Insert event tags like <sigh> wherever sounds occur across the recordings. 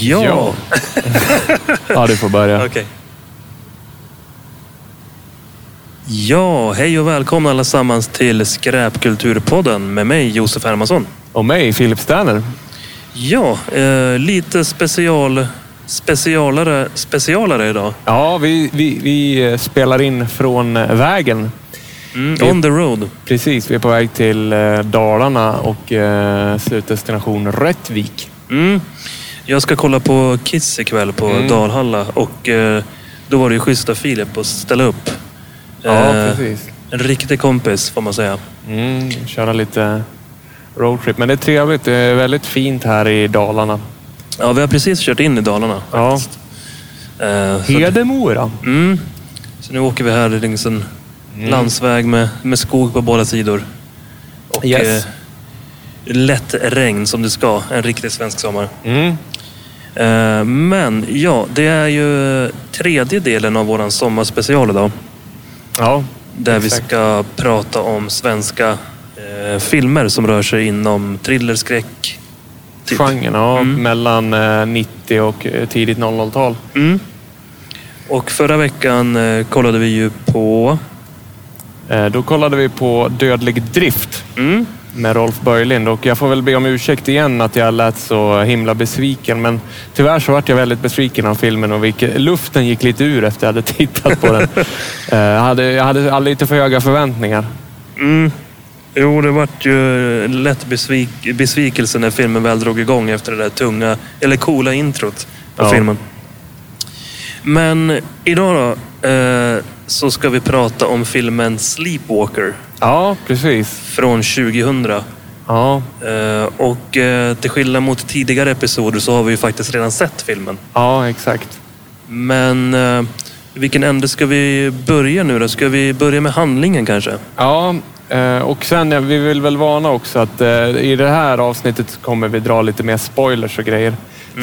Ja. Ja, du får <laughs> börja. Okej. Ja, hej och välkomna allesammans till Skräpkulturpodden med mig Josef Hermansson. Och mig, Filip Sterner. Ja, eh, lite special, specialare, specialare idag. Ja, vi, vi, vi eh, spelar in från eh, vägen. Mm, on the road. Precis, vi är på väg till eh, Dalarna och eh, slutdestination Rättvik. Mm. Jag ska kolla på Kiss ikväll på Mm. Dalhalla och eh, då var det ju schysst av Filip att ställa upp. Ja, Eh, precis. En riktig kompis får man säga. Mm, köra lite roadtrip. Men det är trevligt. Det är väldigt fint här i Dalarna. Ja, vi har precis kört in i Dalarna. Ja. Eh, så- Hedemora. Mm. Så nu åker vi här längs en Mm. landsväg med, med skog på båda sidor. Och Yes. eh, lätt regn som det ska. En riktig svensk sommar. Mm. Eh, men ja, det är ju tredje delen av våran sommarspecial idag. Ja, Där vi Exakt. ska prata om svenska eh, filmer som rör sig inom thriller, skräck. Typ. genren. Ja, Mm. Mellan eh, 90 och eh, tidigt 00-tal. Mm. Och förra veckan eh, kollade vi ju på... Eh, Då kollade vi på Dödlig drift Mm. med Rolf Börjlind och jag får väl be om ursäkt igen att jag lät så himla besviken men tyvärr så vart jag väldigt besviken av filmen och vilket, luften gick lite ur efter jag hade <laughs> tittat på den. Eh, Jag hade, jag hade lite för höga förväntningar. Mm. Jo, det vart ju en lätt besvik- besvikelse när filmen väl drog igång efter det där tunga, eller coola introt på Ja. filmen. Men idag då, eh, så ska vi prata om filmen Sleepwalker Ja, precis. från 2000. Ja, Eh, och eh, till skillnad mot tidigare episoder så har vi ju faktiskt redan sett filmen. ja exakt. Men eh, vilken ände ska vi börja nu då? Ska vi börja med handlingen kanske? Ja, eh, och sen eh, vi vill väl varna också att eh, i det här avsnittet så kommer vi dra lite mer spoilers och grejer.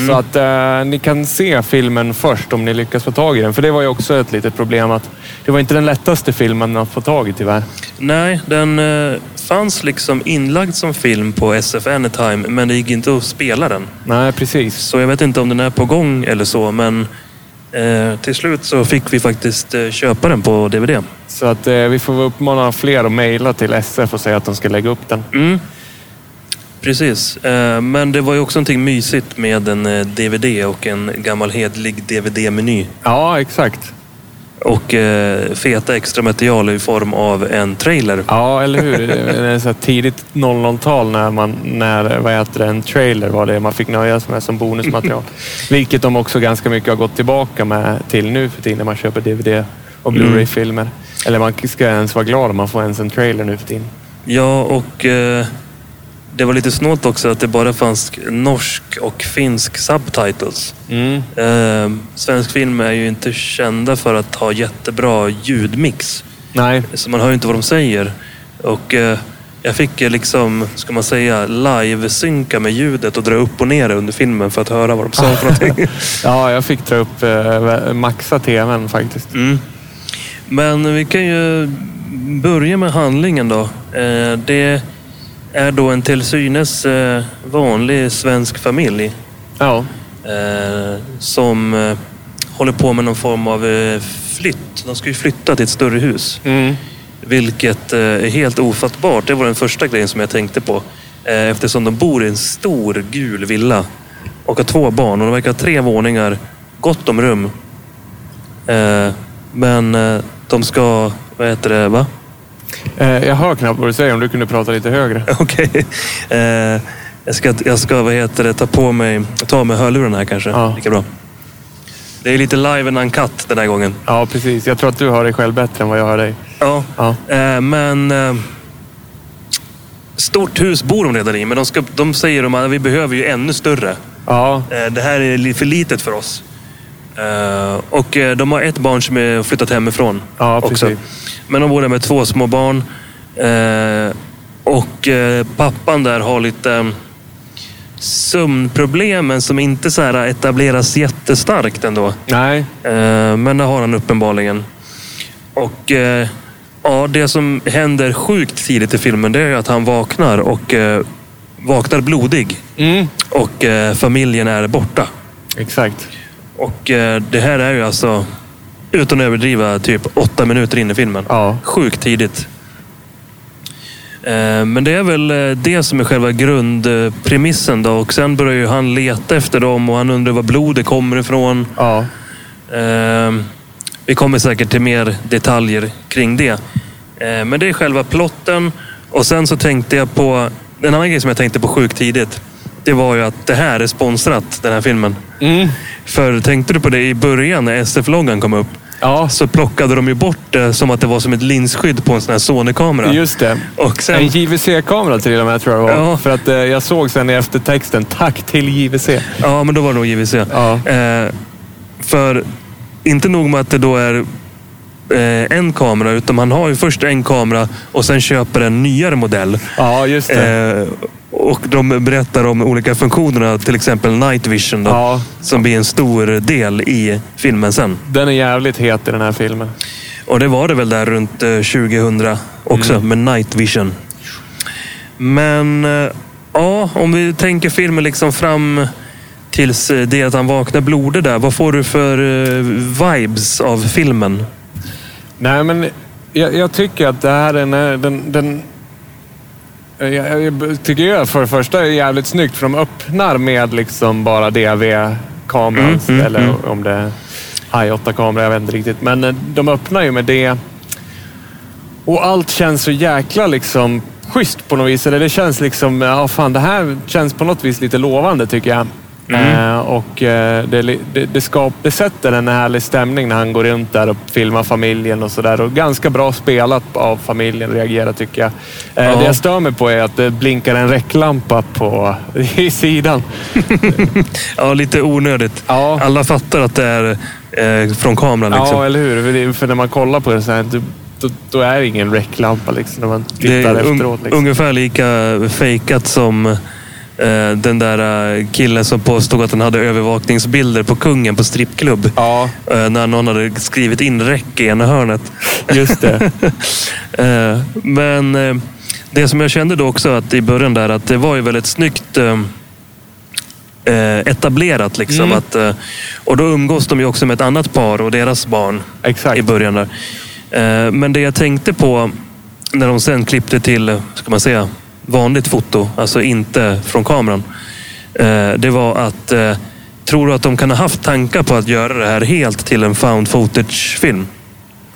Så att eh, ni kan se filmen först om ni lyckas få tag i den. För det var ju också ett litet problem att det var inte den lättaste filmen att få tag i tyvärr. Nej, den eh, fanns liksom inlagd som film på SF Anytime, men det gick inte att spela den. Nej, precis. Så jag vet inte om den är på gång eller så, men eh, till slut så fick vi faktiskt eh, köpa den på DVD. Så att eh, vi får väl uppmana fler att mejla till SF och säga att de ska lägga upp den. Mm. Precis, eh, men det var ju också någonting mysigt med en eh, DVD och en gammal hedlig DVD-meny. Ja, exakt. Och eh, feta extra material i form av en trailer. Ja, eller hur? Det är så här tidigt 00-tal när, man, när vad heter det, en trailer var det man fick nöja sig med som <laughs> bonusmaterial. Vilket de också ganska mycket har gått tillbaka med till nu för tiden när man köper DVD och Blu-ray-filmer. Eller man ska ens vara glad om man får ens en trailer nu för tiden. Ja, och eh, det var lite snålt också att det bara fanns norsk och finsk subtitles. Mm. Eh, svensk film är ju inte kända för att ha jättebra ljudmix. Nej, Så man hör ju inte vad de säger. Och eh, jag fick eh, liksom, ska man säga, live-synka med ljudet och dra upp och ner under filmen för att höra vad de sa för någonting. ja, jag fick dra upp eh, maxa tvn faktiskt. Mm. Men vi kan ju börja med handlingen då. Eh, Det är då en till synes eh, vanlig svensk familj Ja, eh, som eh, håller på med någon form av eh, flytt. De ska ju flytta till ett större hus. mm. Vilket eh, är helt ofattbart. Det var den första grejen som jag tänkte på. Eh, Eftersom de bor i en stor gul villa och har två barn. Och de verkar ha tre våningar, gott om rum. Eh, Men eh, de ska... Vad heter det? Va? <laughs> Eh, jag hör knappt vad du säger. Om du kunde prata lite högre. Okej. Eh, Jag ska, jag ska vad heter det, ta på mig... Ta med hörlurarna här kanske. Ja. Lika bra. Det är lite live and uncut den här gången. Ja, precis. Jag tror att du hör dig själv bättre än vad jag hör dig. Ja. Ja. Eh, men... Eh, stort hus bor de redan i, men de, ska, de säger de att vi behöver ju ännu större. Ja, Eh, det här är li- för litet för oss. Eh, och eh, de har ett barn som är flyttat hemifrån. Ja, precis. Men de bor där med två små barn. Eh, och eh, pappan där har lite eh, sömnproblem, men som inte så här etableras jättestarkt ändå. nej. Eh, Men det har han uppenbarligen. Och eh, ja, det som händer sjukt tidigt i filmen det är ju att han vaknar och eh, vaknar blodig. Mm. Och eh, familjen är borta. Exakt. Och eh, det här är ju alltså, utan att överdriva, typ åtta minuter in i filmen. Ja. Sjukt tidigt. Eh, Men det är väl eh, det som är själva grundpremissen. Då. Och sen börjar ju han leta efter dem och han undrar var blodet kommer ifrån. Ja. Eh, Vi kommer säkert till mer detaljer kring det. Eh, Men det är själva plotten. Och sen så tänkte jag på... En annan grej som jag tänkte på sjukt tidigt. Det var ju att det här är sponsrat, den här filmen. Mm. För tänkte du på det i början när SF-loggan kom upp? Ja, Så plockade de ju bort det som att det var som ett linsskydd på en sån här Sony-kamera. just det. Och En sen, JVC-kamera till och med tror jag det var. Ja. För att eh, jag såg sen i eftertexten, tack till JVC. ja, men då var det nog JVC. Ja. Eh, för inte nog med att det då är eh, en kamera, utan man har ju först en kamera och sen köper en nyare modell. Ja, just det. Eh, och de berättar om olika funktionerna, till exempel night vision då, Ja, som blir en stor del i filmen sen. den är jävligt het i den här filmen. Och det var det väl där runt eh, 2000 också Mm. med Night Vision. Men eh, ja, om vi tänker filmen liksom fram tills eh, det att han vaknar blodig där. Vad får du för eh, vibes av filmen? Nej, men jag, jag tycker att det här är den... den, den jag, jag- jag tycker ju för det första är det jävligt snyggt för de öppnar med liksom bara DV-kameran. Mm, mm, eller mm. om det är High 8-kamera, jag vet inte riktigt. Men eh, de öppnar ju med det. Och allt känns så jäkla liksom schysst på något vis. Eller det känns liksom, ja fan det här känns på något vis lite lovande tycker jag. Eh, och eh, det, li- det, det, skap, det sätter en härlig stämning när han går runt där och filmar familjen och sådär. Och ganska bra spelat av familjen reagerar tycker jag. Eh, Ja. Det jag stör mig på är att det blinkar en räcklampa på, <laughs> i sidan. Ja, lite onödigt. Ja. Alla fattar att det är eh, från kameran. Liksom. Ja, eller hur? För det- För när man kollar på det så här, då, då, då är det ingen räcklampa liksom, när man Det tittar är un- efteråt. Liksom. ungefär lika fejkat som eh, den där eh, killen som påstod att han hade övervakningsbilder på kungen på strippklubb. Ja, Eh, när någon hade skrivit in räck i ena hörnet. just det. Eh, Men eh, det som jag kände då också att i början där, att det var ju väldigt snyggt eh, eh, etablerat. Liksom, Mm. att, eh, och då umgås de ju också med ett annat par och deras barn i Exakt. början. där. Eh, Men det jag tänkte på när de sen klippte till, eh, ska man säga, vanligt foto, alltså inte från kameran. eh, Det var att, eh, tror du att de kan ha haft tankar på att göra det här helt till en found footage-film?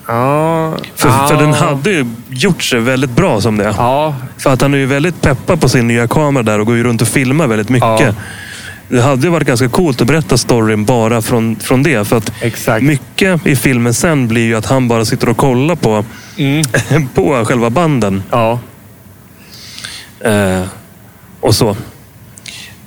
Ja. För, ja. för den hade ju gjort sig väldigt bra som det. Ja, För att han är ju väldigt peppad på sin nya kamera där och går ju runt och filmar väldigt mycket. Ja. Det hade ju varit ganska coolt att berätta storyn bara från, från det. För att exakt. mycket i filmen sen blir ju att han bara sitter och kollar på, <laughs> Mm. på själva banden. Ja. Eh, och så.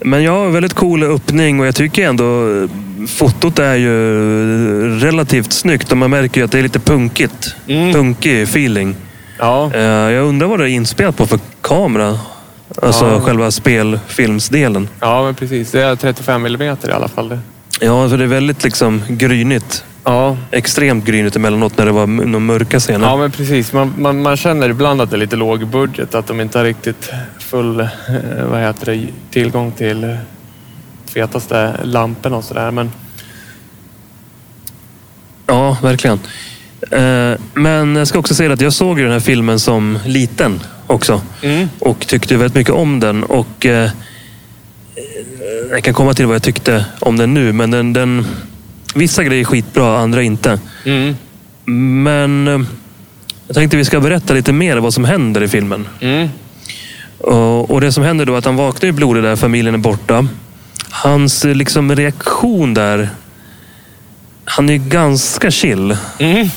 Men ja, väldigt cool öppning och jag tycker ändå eh, fotot är ju relativt snyggt och man märker ju att det är lite punkigt. Mm. Punkig feeling. Ja. Eh, Jag undrar vad det är inspelat på för kamera. Alltså Ja. själva spelfilmsdelen. ja, men precis. Det är 35 mm i alla fall. Det. Ja, för det är väldigt liksom grynigt. Ja. Extremt grynigt emellanåt när det var m- några mörka scener. ja, men precis. Man, man, man känner ibland att det är lite låg budget. Att de inte har riktigt full eh, vad heter det, tillgång till eh, fetaste lamporna och sådär. Men Ja, verkligen. Eh, Men jag ska också säga att jag såg ju den här filmen som liten också. mm. Och tyckte väldigt mycket om den. Och eh, eh, jag kan komma till vad jag tyckte om den nu, men den, den, vissa grejer är skitbra, andra inte. Mm. Men eh, jag tänkte vi ska berätta lite mer vad som händer i filmen. Mm. Och, och det som händer då är att han vaknar i blodet där, familjen är borta. Hans eh, liksom, reaktion där. Han är ju ganska chill Mm.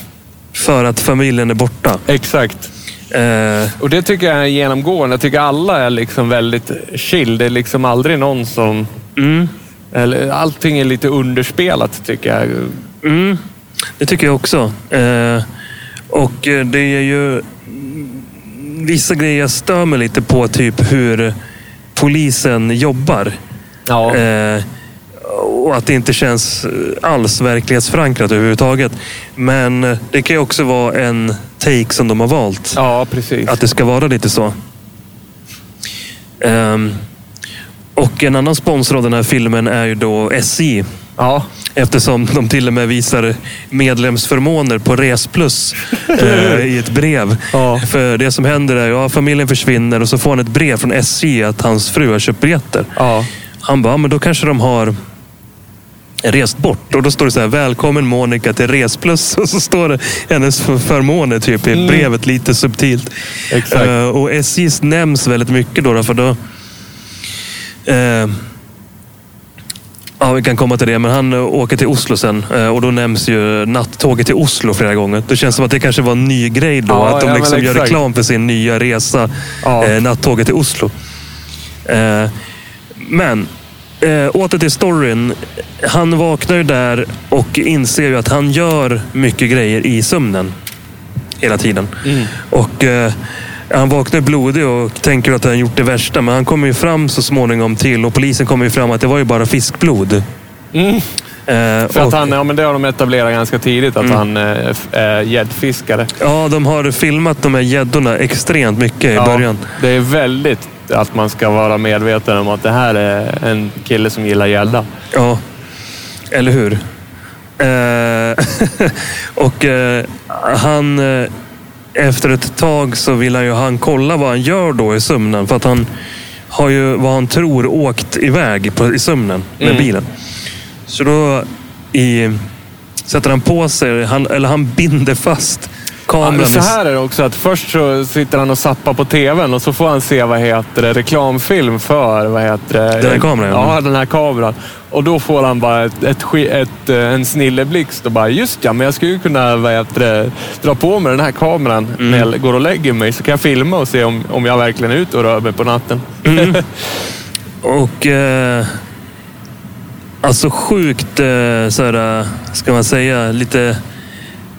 för att familjen är borta. Exakt. Eh, Och det tycker jag är genomgående. Jag tycker alla är liksom väldigt chill. Det är liksom aldrig någon som... mm, Eller, allting är lite underspelat tycker jag. mm, det tycker jag också. Eh, och eh, det är ju mm, vissa grejer jag stör mig lite på. Typ hur polisen jobbar. Ja. Eh, och att det inte känns eh, alls verklighetsförankrat överhuvudtaget. Men eh, det kan ju också vara en take som de har valt. ja, precis. Att det ska vara lite så. Ehm, och Och en annan sponsor av den här filmen är ju då SJ. Ja, Eftersom de till och med visar medlemsförmåner på Resplus eh, i ett brev. Ja. För det som händer är att ja, familjen försvinner och så får han ett brev från SJ att hans fru har köpt biljetter. ja. Han bara, "Ja, men då kanske de har rest bort. Och då står det så här, välkommen Monica till Resplus. <laughs> Och så står det hennes för- förmåner typ i brevet lite subtilt. Mm. Exakt. Eh, och SJ nämns väldigt mycket då. då, För då eh, Ja, vi kan komma till det. Men han eh, åker till Oslo sen eh, och då nämns ju nattåget till Oslo flera gånger. Det känns som att det kanske var en ny grej då. Ja, att de ja, men liksom gör exakt. reklam för sin nya resa, Ja. eh, nattåget till Oslo. Eh, men eh, åter till storyn. Han vaknar ju där och inser ju att han gör mycket grejer i sömnen. Hela tiden. Mm. Och eh, han vaknar blodig och tänker att han gjort det värsta. Men han kommer ju fram så småningom till och polisen kommer ju fram att det var ju bara fiskblod. Eh, Mm, För och- att han, ja, men det har de etablerat ganska tidigt, att han eh, f- är gäddfiskare. Ja, de har filmat de här gäddorna extremt mycket i Ja, början. Det är väldigt att man ska vara medveten om att det här är en kille som gillar gädda. Ja, eller hur? Eh, <laughs> och eh, han... Eh, efter ett tag så vill han ju han kolla vad han gör då i sömnen. För att han har ju, vad han tror, åkt iväg på, i sömnen med Mm. bilen. Så då i, sätter han på sig, han, eller han binder fast kameran. Ja, så med- här är det också att först så sitter han och zappar på tvn och så får han se vad heter det, reklamfilm för vad heter det, Den här kameran, ja. Ja, den här kameran. Och då får han bara ett, ett, ski- ett, eh, en snilleblixt och bara just ja, men jag skulle ju kunna vad heter det, dra på mig den här kameran Mm. när jag går och lägger mig så kan jag filma och se om, om jag verkligen är ute och rör mig på natten. Och... Eh, alltså sjukt, eh, så här, eh, ska man säga, lite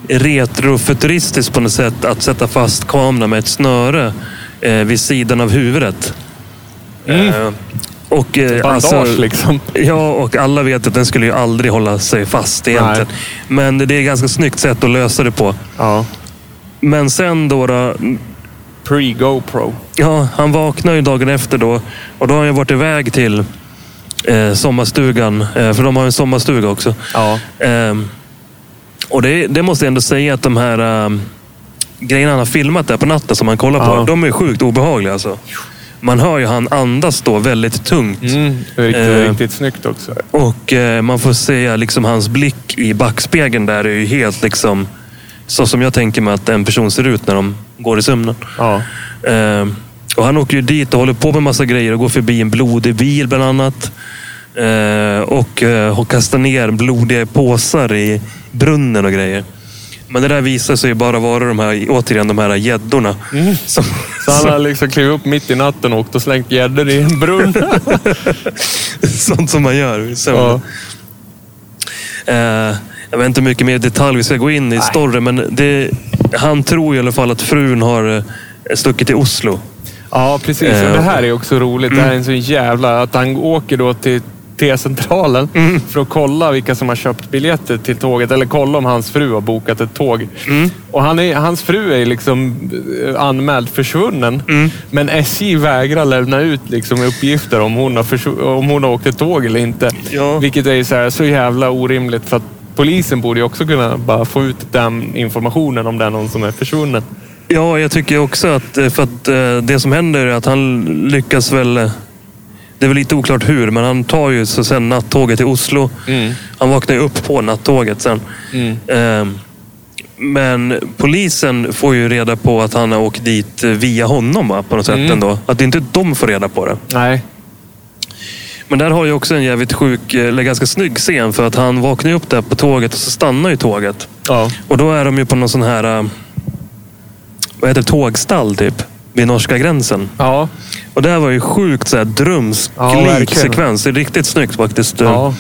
retrofuturistiskt på något sätt att sätta fast kameran med ett snöre eh, vid sidan av huvudet. Eh, och, eh, Mm. Bandage alltså, liksom. Ja, och alla vet att den skulle ju aldrig hålla sig fast egentligen. Men det är ett ganska snyggt sätt att lösa det på. Ja. Men sen då, då Pre-GoPro. Ja, han vaknar ju dagen efter då. Och då har han ju varit iväg till eh, sommarstugan. Eh, för de har ju en sommarstuga också. Ja. Ehm, och det, det måste jag ändå säga att de här ehm, grejerna han har filmat där på natten som han kollar på. Ja. De är sjukt obehagliga alltså. Man hör ju han andas då väldigt tungt. Mm, det är riktigt, Eh. riktigt snyggt också. Och eh, man får se liksom hans blick i backspegeln där är ju helt liksom så som jag tänker mig att en person ser ut när de går i sömnen. Ja. Eh, och han åker ju dit och håller på med massa grejer och går förbi en blodig bil bland annat. Eh, och, eh, och kastar ner blodiga påsar i brunnen och grejer. Men det där visar sig ju bara vara de här, återigen de här gäddorna. Som, Så han som- har liksom klivit upp mitt i natten och åkt och slängt gäddor i en brunn. <laughs> sånt som man gör i sömnen. ja. Eh, jag vet inte hur mycket mer detalj vi ska gå in i storyn, men det, han tror i alla fall att frun har eh, stuckit till Oslo. ja, precis. Eh. Och det här är också roligt. Det här är en sån jävla... Att han åker då till T-centralen för att kolla vilka som har köpt biljetter till tåget. Eller kolla om hans fru har bokat ett tåg. Och han är, hans fru är liksom eh, anmäld försvunnen. Men SJ vägrar lämna ut liksom uppgifter om hon, har försvu- om hon har åkt ett tåg eller inte. Ja. Vilket är så, här, så jävla orimligt. För att Polisen borde ju också kunna bara få ut den informationen om det är någon som är försvunnen. Ja, jag tycker också att, eh, för att eh, det som händer är att han lyckas väl... eh, Det är väl lite oklart hur, men han tar ju så sen nattåget till Oslo. Mm. Han vaknar ju upp på nattåget sen. Eh, Men polisen får ju reda på att han har åkt dit eh, via honom va, på något sätt Mm. ändå. Att det inte är de får reda på det. Nej. Men där har jag också en jävligt sjuk, eh, eller ganska snygg scen. För att han vaknar ju upp där på tåget och så stannar ju tåget. Ja. Och då är de ju på någon sån här... eh, Vad heter det? Tågstall typ. Vid norska gränsen. Ja. Och det här var ju sjukt så här drömsk Ja, lik verkligen. sekvens. Det är riktigt snyggt faktiskt. Ja.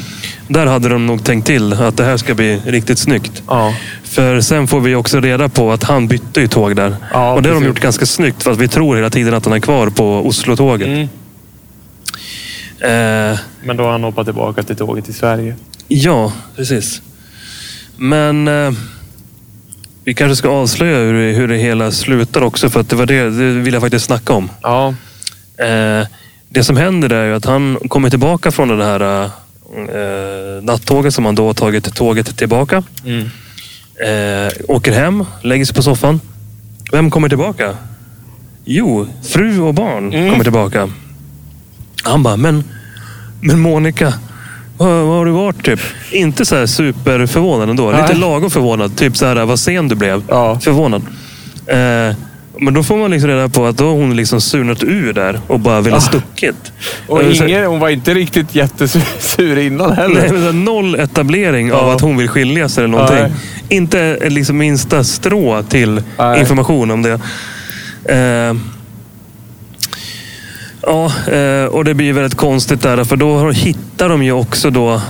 Där hade de nog tänkt till att det här ska bli riktigt snyggt. Ja. För sen får vi också reda på att han bytte ju tåg där. Ja, och det har de precis. gjort ganska snyggt för att vi tror hela tiden att han är kvar på Oslo-tåget. Mm. Eh, Men då har han hoppat tillbaka till tåget i Sverige. Ja, precis. Men eh, vi kanske ska avslöja hur, det- hur det hela slutar också. För att det var det, det vill jag faktiskt snacka om. Ja. Eh, Det som händer där är ju att han kommer tillbaka från det här eh, nattåget som han då har tagit tåget tillbaka. Mm. Eh, åker hem, lägger sig på soffan. Vem kommer tillbaka? Jo, fru och barn Mm. kommer tillbaka. Han bara, men, men Monica, var, var har du varit? Typ. Inte så här superförvånad ändå. Nej. Lite lagom förvånad. Typ så här, vad sen du blev. Ja. Förvånad. Eh, men då får man liksom reda på att då har hon liksom surnat ur där och bara velat Ah. stuckit. Eh, Och Jag vill säga- Inger, hon var inte riktigt jättesur innan Nej, heller. men så här, noll etablering av Ja. att hon vill skilja sig eller någonting. Inte eh, liksom minsta strå till Nej. information om det. Eh, ja, eh, och det blir ju väldigt konstigt där. För då har- hittar de ju också då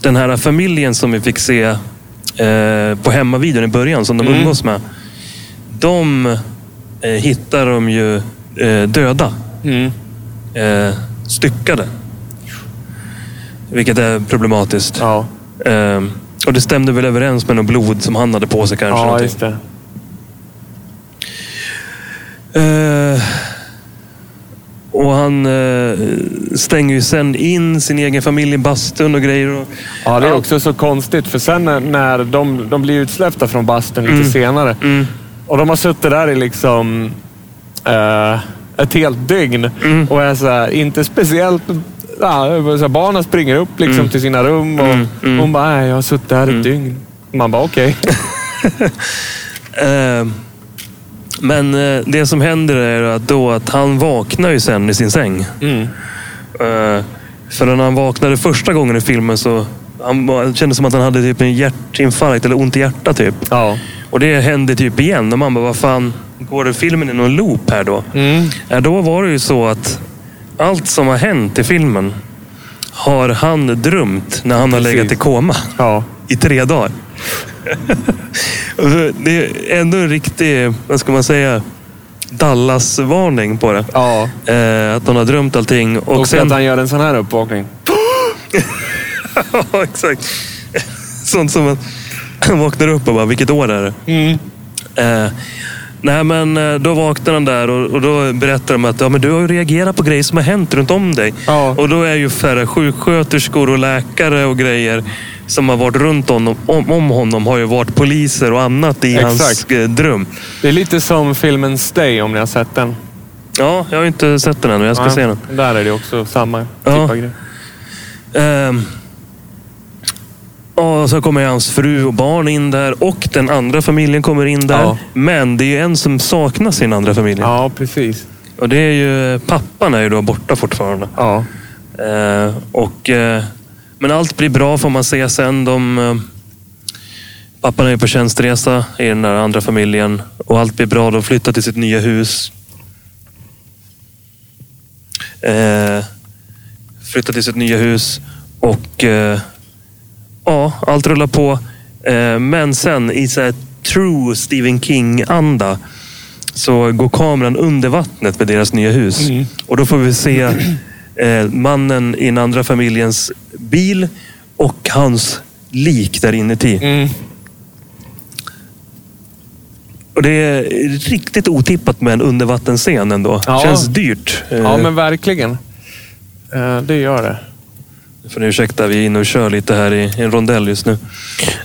den här familjen som vi fick se eh, på hemmavideon i början, som de Mm. umgås med. De eh, hittar de ju eh, döda Mm. eh, styckade. Vilket är problematiskt. Ja, Ehm, och det stämde väl överens med något blod som han hade på sig kanske. ja någonting. just det. Eh, och han eh, stänger ju sen in sin egen familj i bastun och grejer. Och, Ja, det är också så konstigt. För sen när- när de, de blir utsläppta från bastun lite senare. Mm. Och de har suttit där i liksom eh, ett helt dygn och är så här, inte speciellt... Ja, så här, barnen springer upp liksom till sina rum och hon bara, "Nej, jag har suttit här ett dygn. Man bara, okej. Eh, men eh, det som händer är att, då att han vaknar ju sen i sin säng. Mm. Eh, för när han vaknade första gången i filmen så han, var- det kändes som att han hade typ en hjärtinfarkt eller ont i hjärtat. Typ. Ja. Och det hände typ igen. Och man bara, vad fan, går det filmen i någon loop här då? Mm. Ja, Eh, då var det ju så att allt som har hänt i filmen har han drömt när han har Precis. legat i koma Ja. i tre dagar. <laughs> Och så- det är ändå en riktig, vad ska man säga, Dallas-varning på det. Ja. Eh, att han har drömt allting. Och, Och, sen... att han gör en sån här uppvakning. <laughs> ja, exakt. Sånt som man han vaknar upp och bara, vilket år är det? Mm. Eh, nej, men eh, då vaknar han där och, och då berättar de att ja, men du har ju reagerat på grejer som har hänt runt om dig. Ja. Och då är ju färre sjuksköterskor och läkare och grejer som har varit runt honom, om, om honom har ju varit poliser och annat i hans Exakt. eh, dröm. Det är lite som filmen Stay om ni har sett den. Ja, jag har ju inte sett den ännu. Jag ska Ja. se den. Där är det också samma typ Ja. av grej. Ehm, ja, så kommer ju hans fru och barn in där och den andra familjen kommer in där. Ja. Men det är ju en som saknar sin andra familj. Ja, precis. Och det är ju, pappan är ju då borta fortfarande. Ja. Eh, och, eh, men allt blir bra får man se sen. De, eh, pappan är ju på tjänstresa i den där andra familjen. Och allt blir bra. De flyttar till sitt nya hus. Eh, flyttar till sitt nya hus. Och eh, ja, allt rullar på. Eh, men sen i så här true Stephen King-anda så går kameran under vattnet med deras nya hus. Mm. Och då får vi se eh, mannen i den andra familjens bil och hans lik där inuti. Mm. Och det är riktigt otippat med en undervattensscen ändå. Ja. Känns dyrt. Eh, Ja, men verkligen. Eh, Det gör det. För ni ursäkta, vi är inne och kör lite här i en rondell just nu.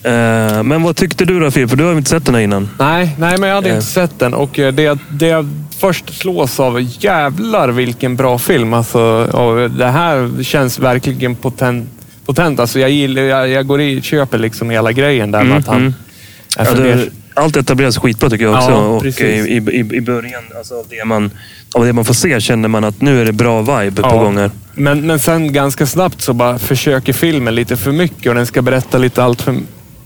Eh, men vad tyckte du då Filip? För du har ju inte sett den här innan. Nej, nej men jag hade Eh. inte sett den. Och eh, det, jag- det jag först slås av, jävlar vilken bra film. Alltså, och det här känns verkligen potent. potent. Alltså, jag, gillar, jag, jag går i köper liksom hela grejen där med Mm, att han... mm. Alltså, ja, det, det, allt etableras skitbra tycker jag också. Ja, och i, precis. i, i, I början, alltså, av, det man, av det man får se, känner man att nu är det bra vibe på Ja. gång här. men, men sen ganska snabbt så bara försöker filmen lite för mycket och den ska berätta lite allt för...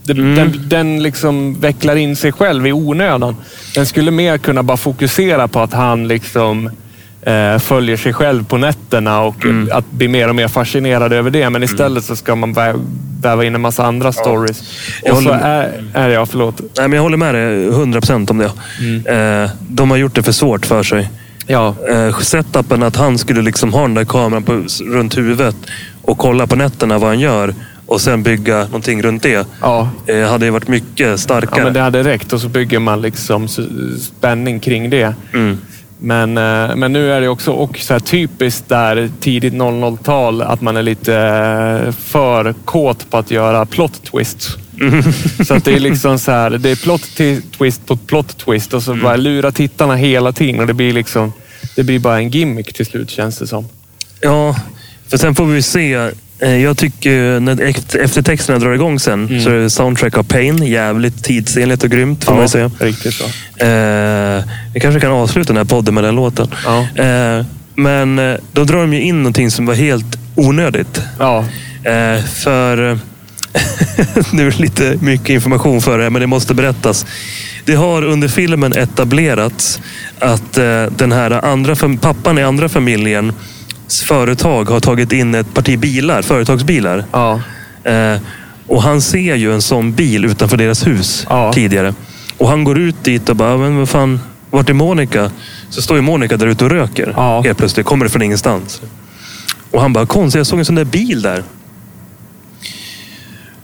Den, Mm. den, den liksom vecklar in sig själv i onödan. Den skulle mer kunna bara fokusera på att han liksom eh, följer sig själv på nätterna och Mm. att bli mer och mer fascinerad över det. Men istället så ska man vä- väva in en massa andra stories. Jag Och så håller är, är jag, förlåt. Nej, men jag håller med dig 100% om det. Mm. Eh, de har gjort det för svårt för sig. Ja. Eh, setupen att han skulle liksom ha den där kameran på, runt huvudet och kolla på nätterna vad han gör och sen bygga någonting runt det. Ja. Eh, hade ju varit mycket ja, starkare. men det hade räckt och så bygger man liksom s- spänning kring det. Mm. Men, eh, men nu är det också och så här typiskt där tidigt 00-tal att man är lite eh, för kåt på att göra plot twists. Mm. <laughs> Så att det är liksom så här, det är plot ti- twist på plot twist och så Mm. bara lura tittarna hela tiden. Och det blir liksom, det blir bara en gimmick till slut känns det som. Ja, för sen får vi se. Eh, Jag tycker ju när eft- eftertexterna drar igång sen Mm. så är det soundtrack av Pain. Jävligt tidsenligt och grymt får man ju säga. riktigt så. Eh, vi kanske kan avsluta den här podden med den låten. Ja. Eh, men eh, då drar de ju in någonting som var helt onödigt. Ja, Eh, <laughs> för... nu är det lite mycket information för det här, men det måste berättas. Det har under filmen etablerats att eh, den här andra fam- pappan i andra familjen företag har tagit in ett parti bilar, företagsbilar. ja, Eh, och han ser ju en sån bil utanför deras hus Ja. tidigare. Och han går ut dit och bara, men vad fan, vart är Monica? Så står ju Monica där ute och röker. Ja. Helt plötsligt, kommer det från ingenstans. Och han bara, konstigt, jag såg en sån där bil där.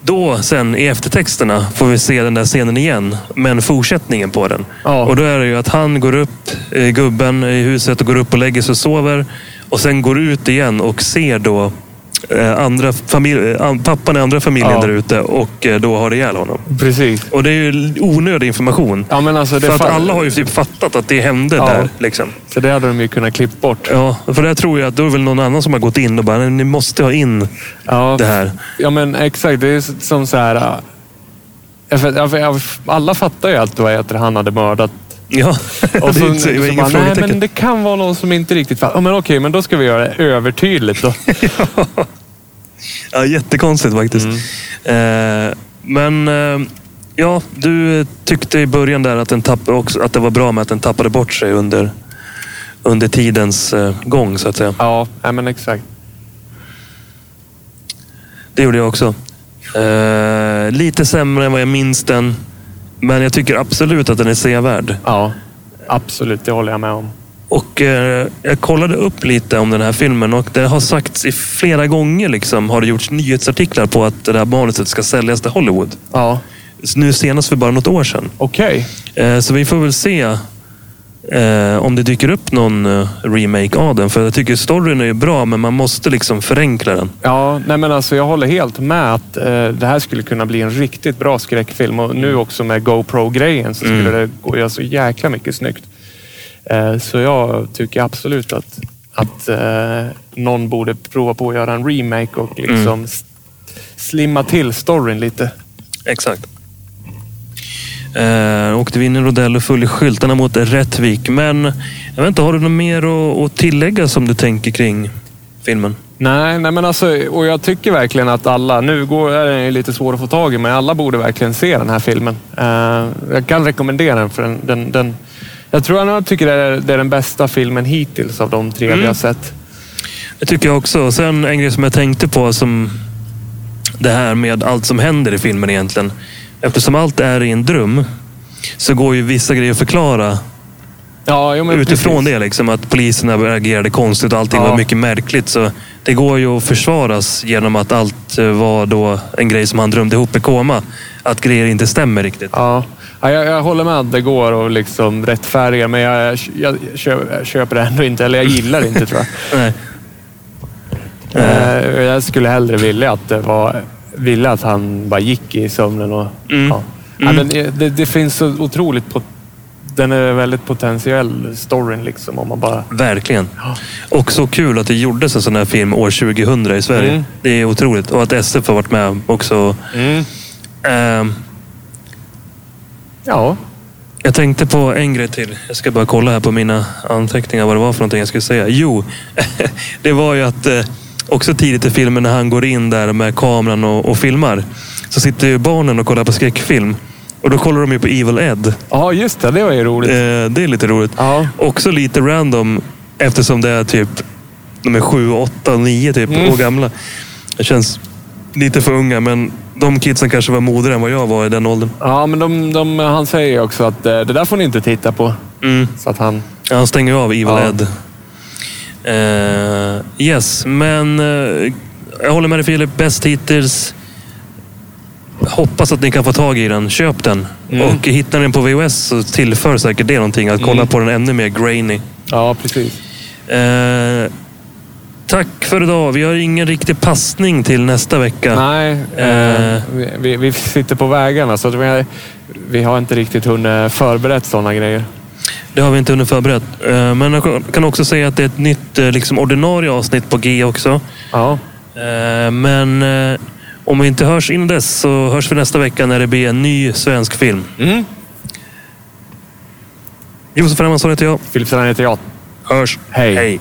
Då sen i eftertexterna får vi se den där scenen igen, men fortsättningen på den. Ja. Och då är det ju att han går upp, eh, gubben i huset, och går upp och lägger sig och sover. Och sen går ut igen och ser då eh, andra famil- eh, an- pappan i andra familjen Ja. där ute och eh, då har ihjäl honom. precis. Och det är ju l- onödig information. Ja, men alltså det för att fa- alla har ju typ fattat att det hände Ja. där. Liksom. Så det hade de ju kunnat klippa bort. Ja, för det tror jag att då är väl någon annan som har gått in och bara, "Nej, ni måste ha in Ja, det här. Ja, men exakt. Det är s- som så här... äh, ja, för- ja, för- ja, för- Alla fattar ju att vad heter det, han <laughs> hade mördat. Ja, Och det så, är inte, det är så inga bara, nej, frågetecken. men det kan vara någon som inte riktigt fattar. Ja, men okej, men då ska vi göra det <laughs> övertydligt då. Ja, jättekonstigt faktiskt. Eh, men eh, ja, du tyckte i början där att, den tapp, också, att det var bra med att den tappade bort sig under, under tidens eh, gång så att säga. Ja, nej, men exakt. Det gjorde jag också. Eh, lite sämre än vad jag minns den. Men jag tycker absolut att den är sevärd. Ja, absolut. Det håller jag med om. Och eh, jag kollade upp lite om den här filmen och det har sagts i flera gånger liksom, har det gjorts nyhetsartiklar på att det här manuset ska säljas till Hollywood. Ja, Så nu senast för bara något år sedan. okej. Eh, Så vi får väl se eh, om det dyker upp någon eh, remake av den. För jag tycker storyn är ju bra, men man måste liksom förenkla den. Ja, nej men alltså jag håller helt med att eh, det här skulle kunna bli en riktigt bra skräckfilm. Och nu också med GoPro-grejen så skulle det gå att göra så jäkla mycket snyggt. Eh, så jag tycker absolut att, att eh, någon borde prova på att göra en remake och liksom s- slimma till storyn lite. Exakt. Eh, åkte vi in i Rodell och följde skyltarna mot Rättvik. Men jag vet inte, har du något mer att, att tillägga som du tänker kring filmen? Nej, nej men alltså, och jag tycker verkligen att alla, nu går, är den ju lite svår att få tag i, men alla borde verkligen se den här filmen. Eh, jag kan rekommendera den för den, den, den jag tror jag nog tycker det är, det är den bästa filmen hittills av de tre vi Mm. har sett. Det tycker jag också. Sen en grej som jag tänkte på som det här med allt som händer i filmen egentligen. Eftersom allt är i en dröm så går ju vissa grejer att förklara Ja, jo, men Utifrån precis. det liksom, att poliserna agerade konstigt och allting Ja. var mycket märkligt. Så det går ju att försvaras genom att allt eh, var då en grej som han drömde ihop i koma. Att grejer inte stämmer riktigt. Ja, ja jag, jag håller med att det går och liksom rättfärdiga, men jag, jag, jag, kö- jag köper det ändå inte, eller jag gillar det inte tror jag. Nej. Eh, Jag skulle hellre vilja att det var... Ville att han bara gick i sömnen och... Ja. Ja, men eh, det, det finns så otroligt... Pot- den är väldigt potentiell, storyn liksom. Om man bara... Verkligen. Och så kul att det gjordes en sån här film år 2000 i Sverige. Mm. Det är otroligt. Och att SF har varit med också. Ehm, Ja. Jag tänkte på en grej till. Jag ska bara kolla här på mina anteckningar vad det var för någonting jag skulle säga. Jo, <laughs> det var ju att eh, också tidigt i filmen när han går in där med kameran och, och filmar. Så sitter ju barnen och kollar på skräckfilm. Och då kollar de ju på Evil Ed. Ja, just det. Det var ju roligt. Eh, det är lite roligt. Ja. Också lite random eftersom det är typ de är sju, åtta, nio typ Mm. år gamla. Det känns lite för unga men de kidsen kanske var modigare än vad jag var i den åldern. Ja, men de, de, han säger ju också att eh, det där får ni inte titta på. Mm. Så att han... Ja, han stänger ju av Evil Ja. Ed. Eh, yes, men eh, jag håller med dig Filip. Bäst hittills. Hoppas att ni kan få tag i den. Mm. Köp den. Och hittar ni den på VHS så tillför säkert det någonting. Att kolla på den ännu mer grainy. Ja, precis. Eh, tack för idag. Vi har ingen riktig passning till nästa vecka. Nej, Eh. eh, vi- vi, vi sitter på vägarna så att vi, vi har inte riktigt hunnit förberett sådana grejer. Det har vi inte hunnit förberett. Eh, men jag kan också säga att det är ett nytt eh, liksom, ordinarie avsnitt på G också. Ja, Eh, men eh, om vi inte hörs innan dess så hörs vi nästa vecka när det blir en ny svensk film. Mm. Josef Hermansson heter jag. Filip Strand heter jag. Hörs. Hej. Hej.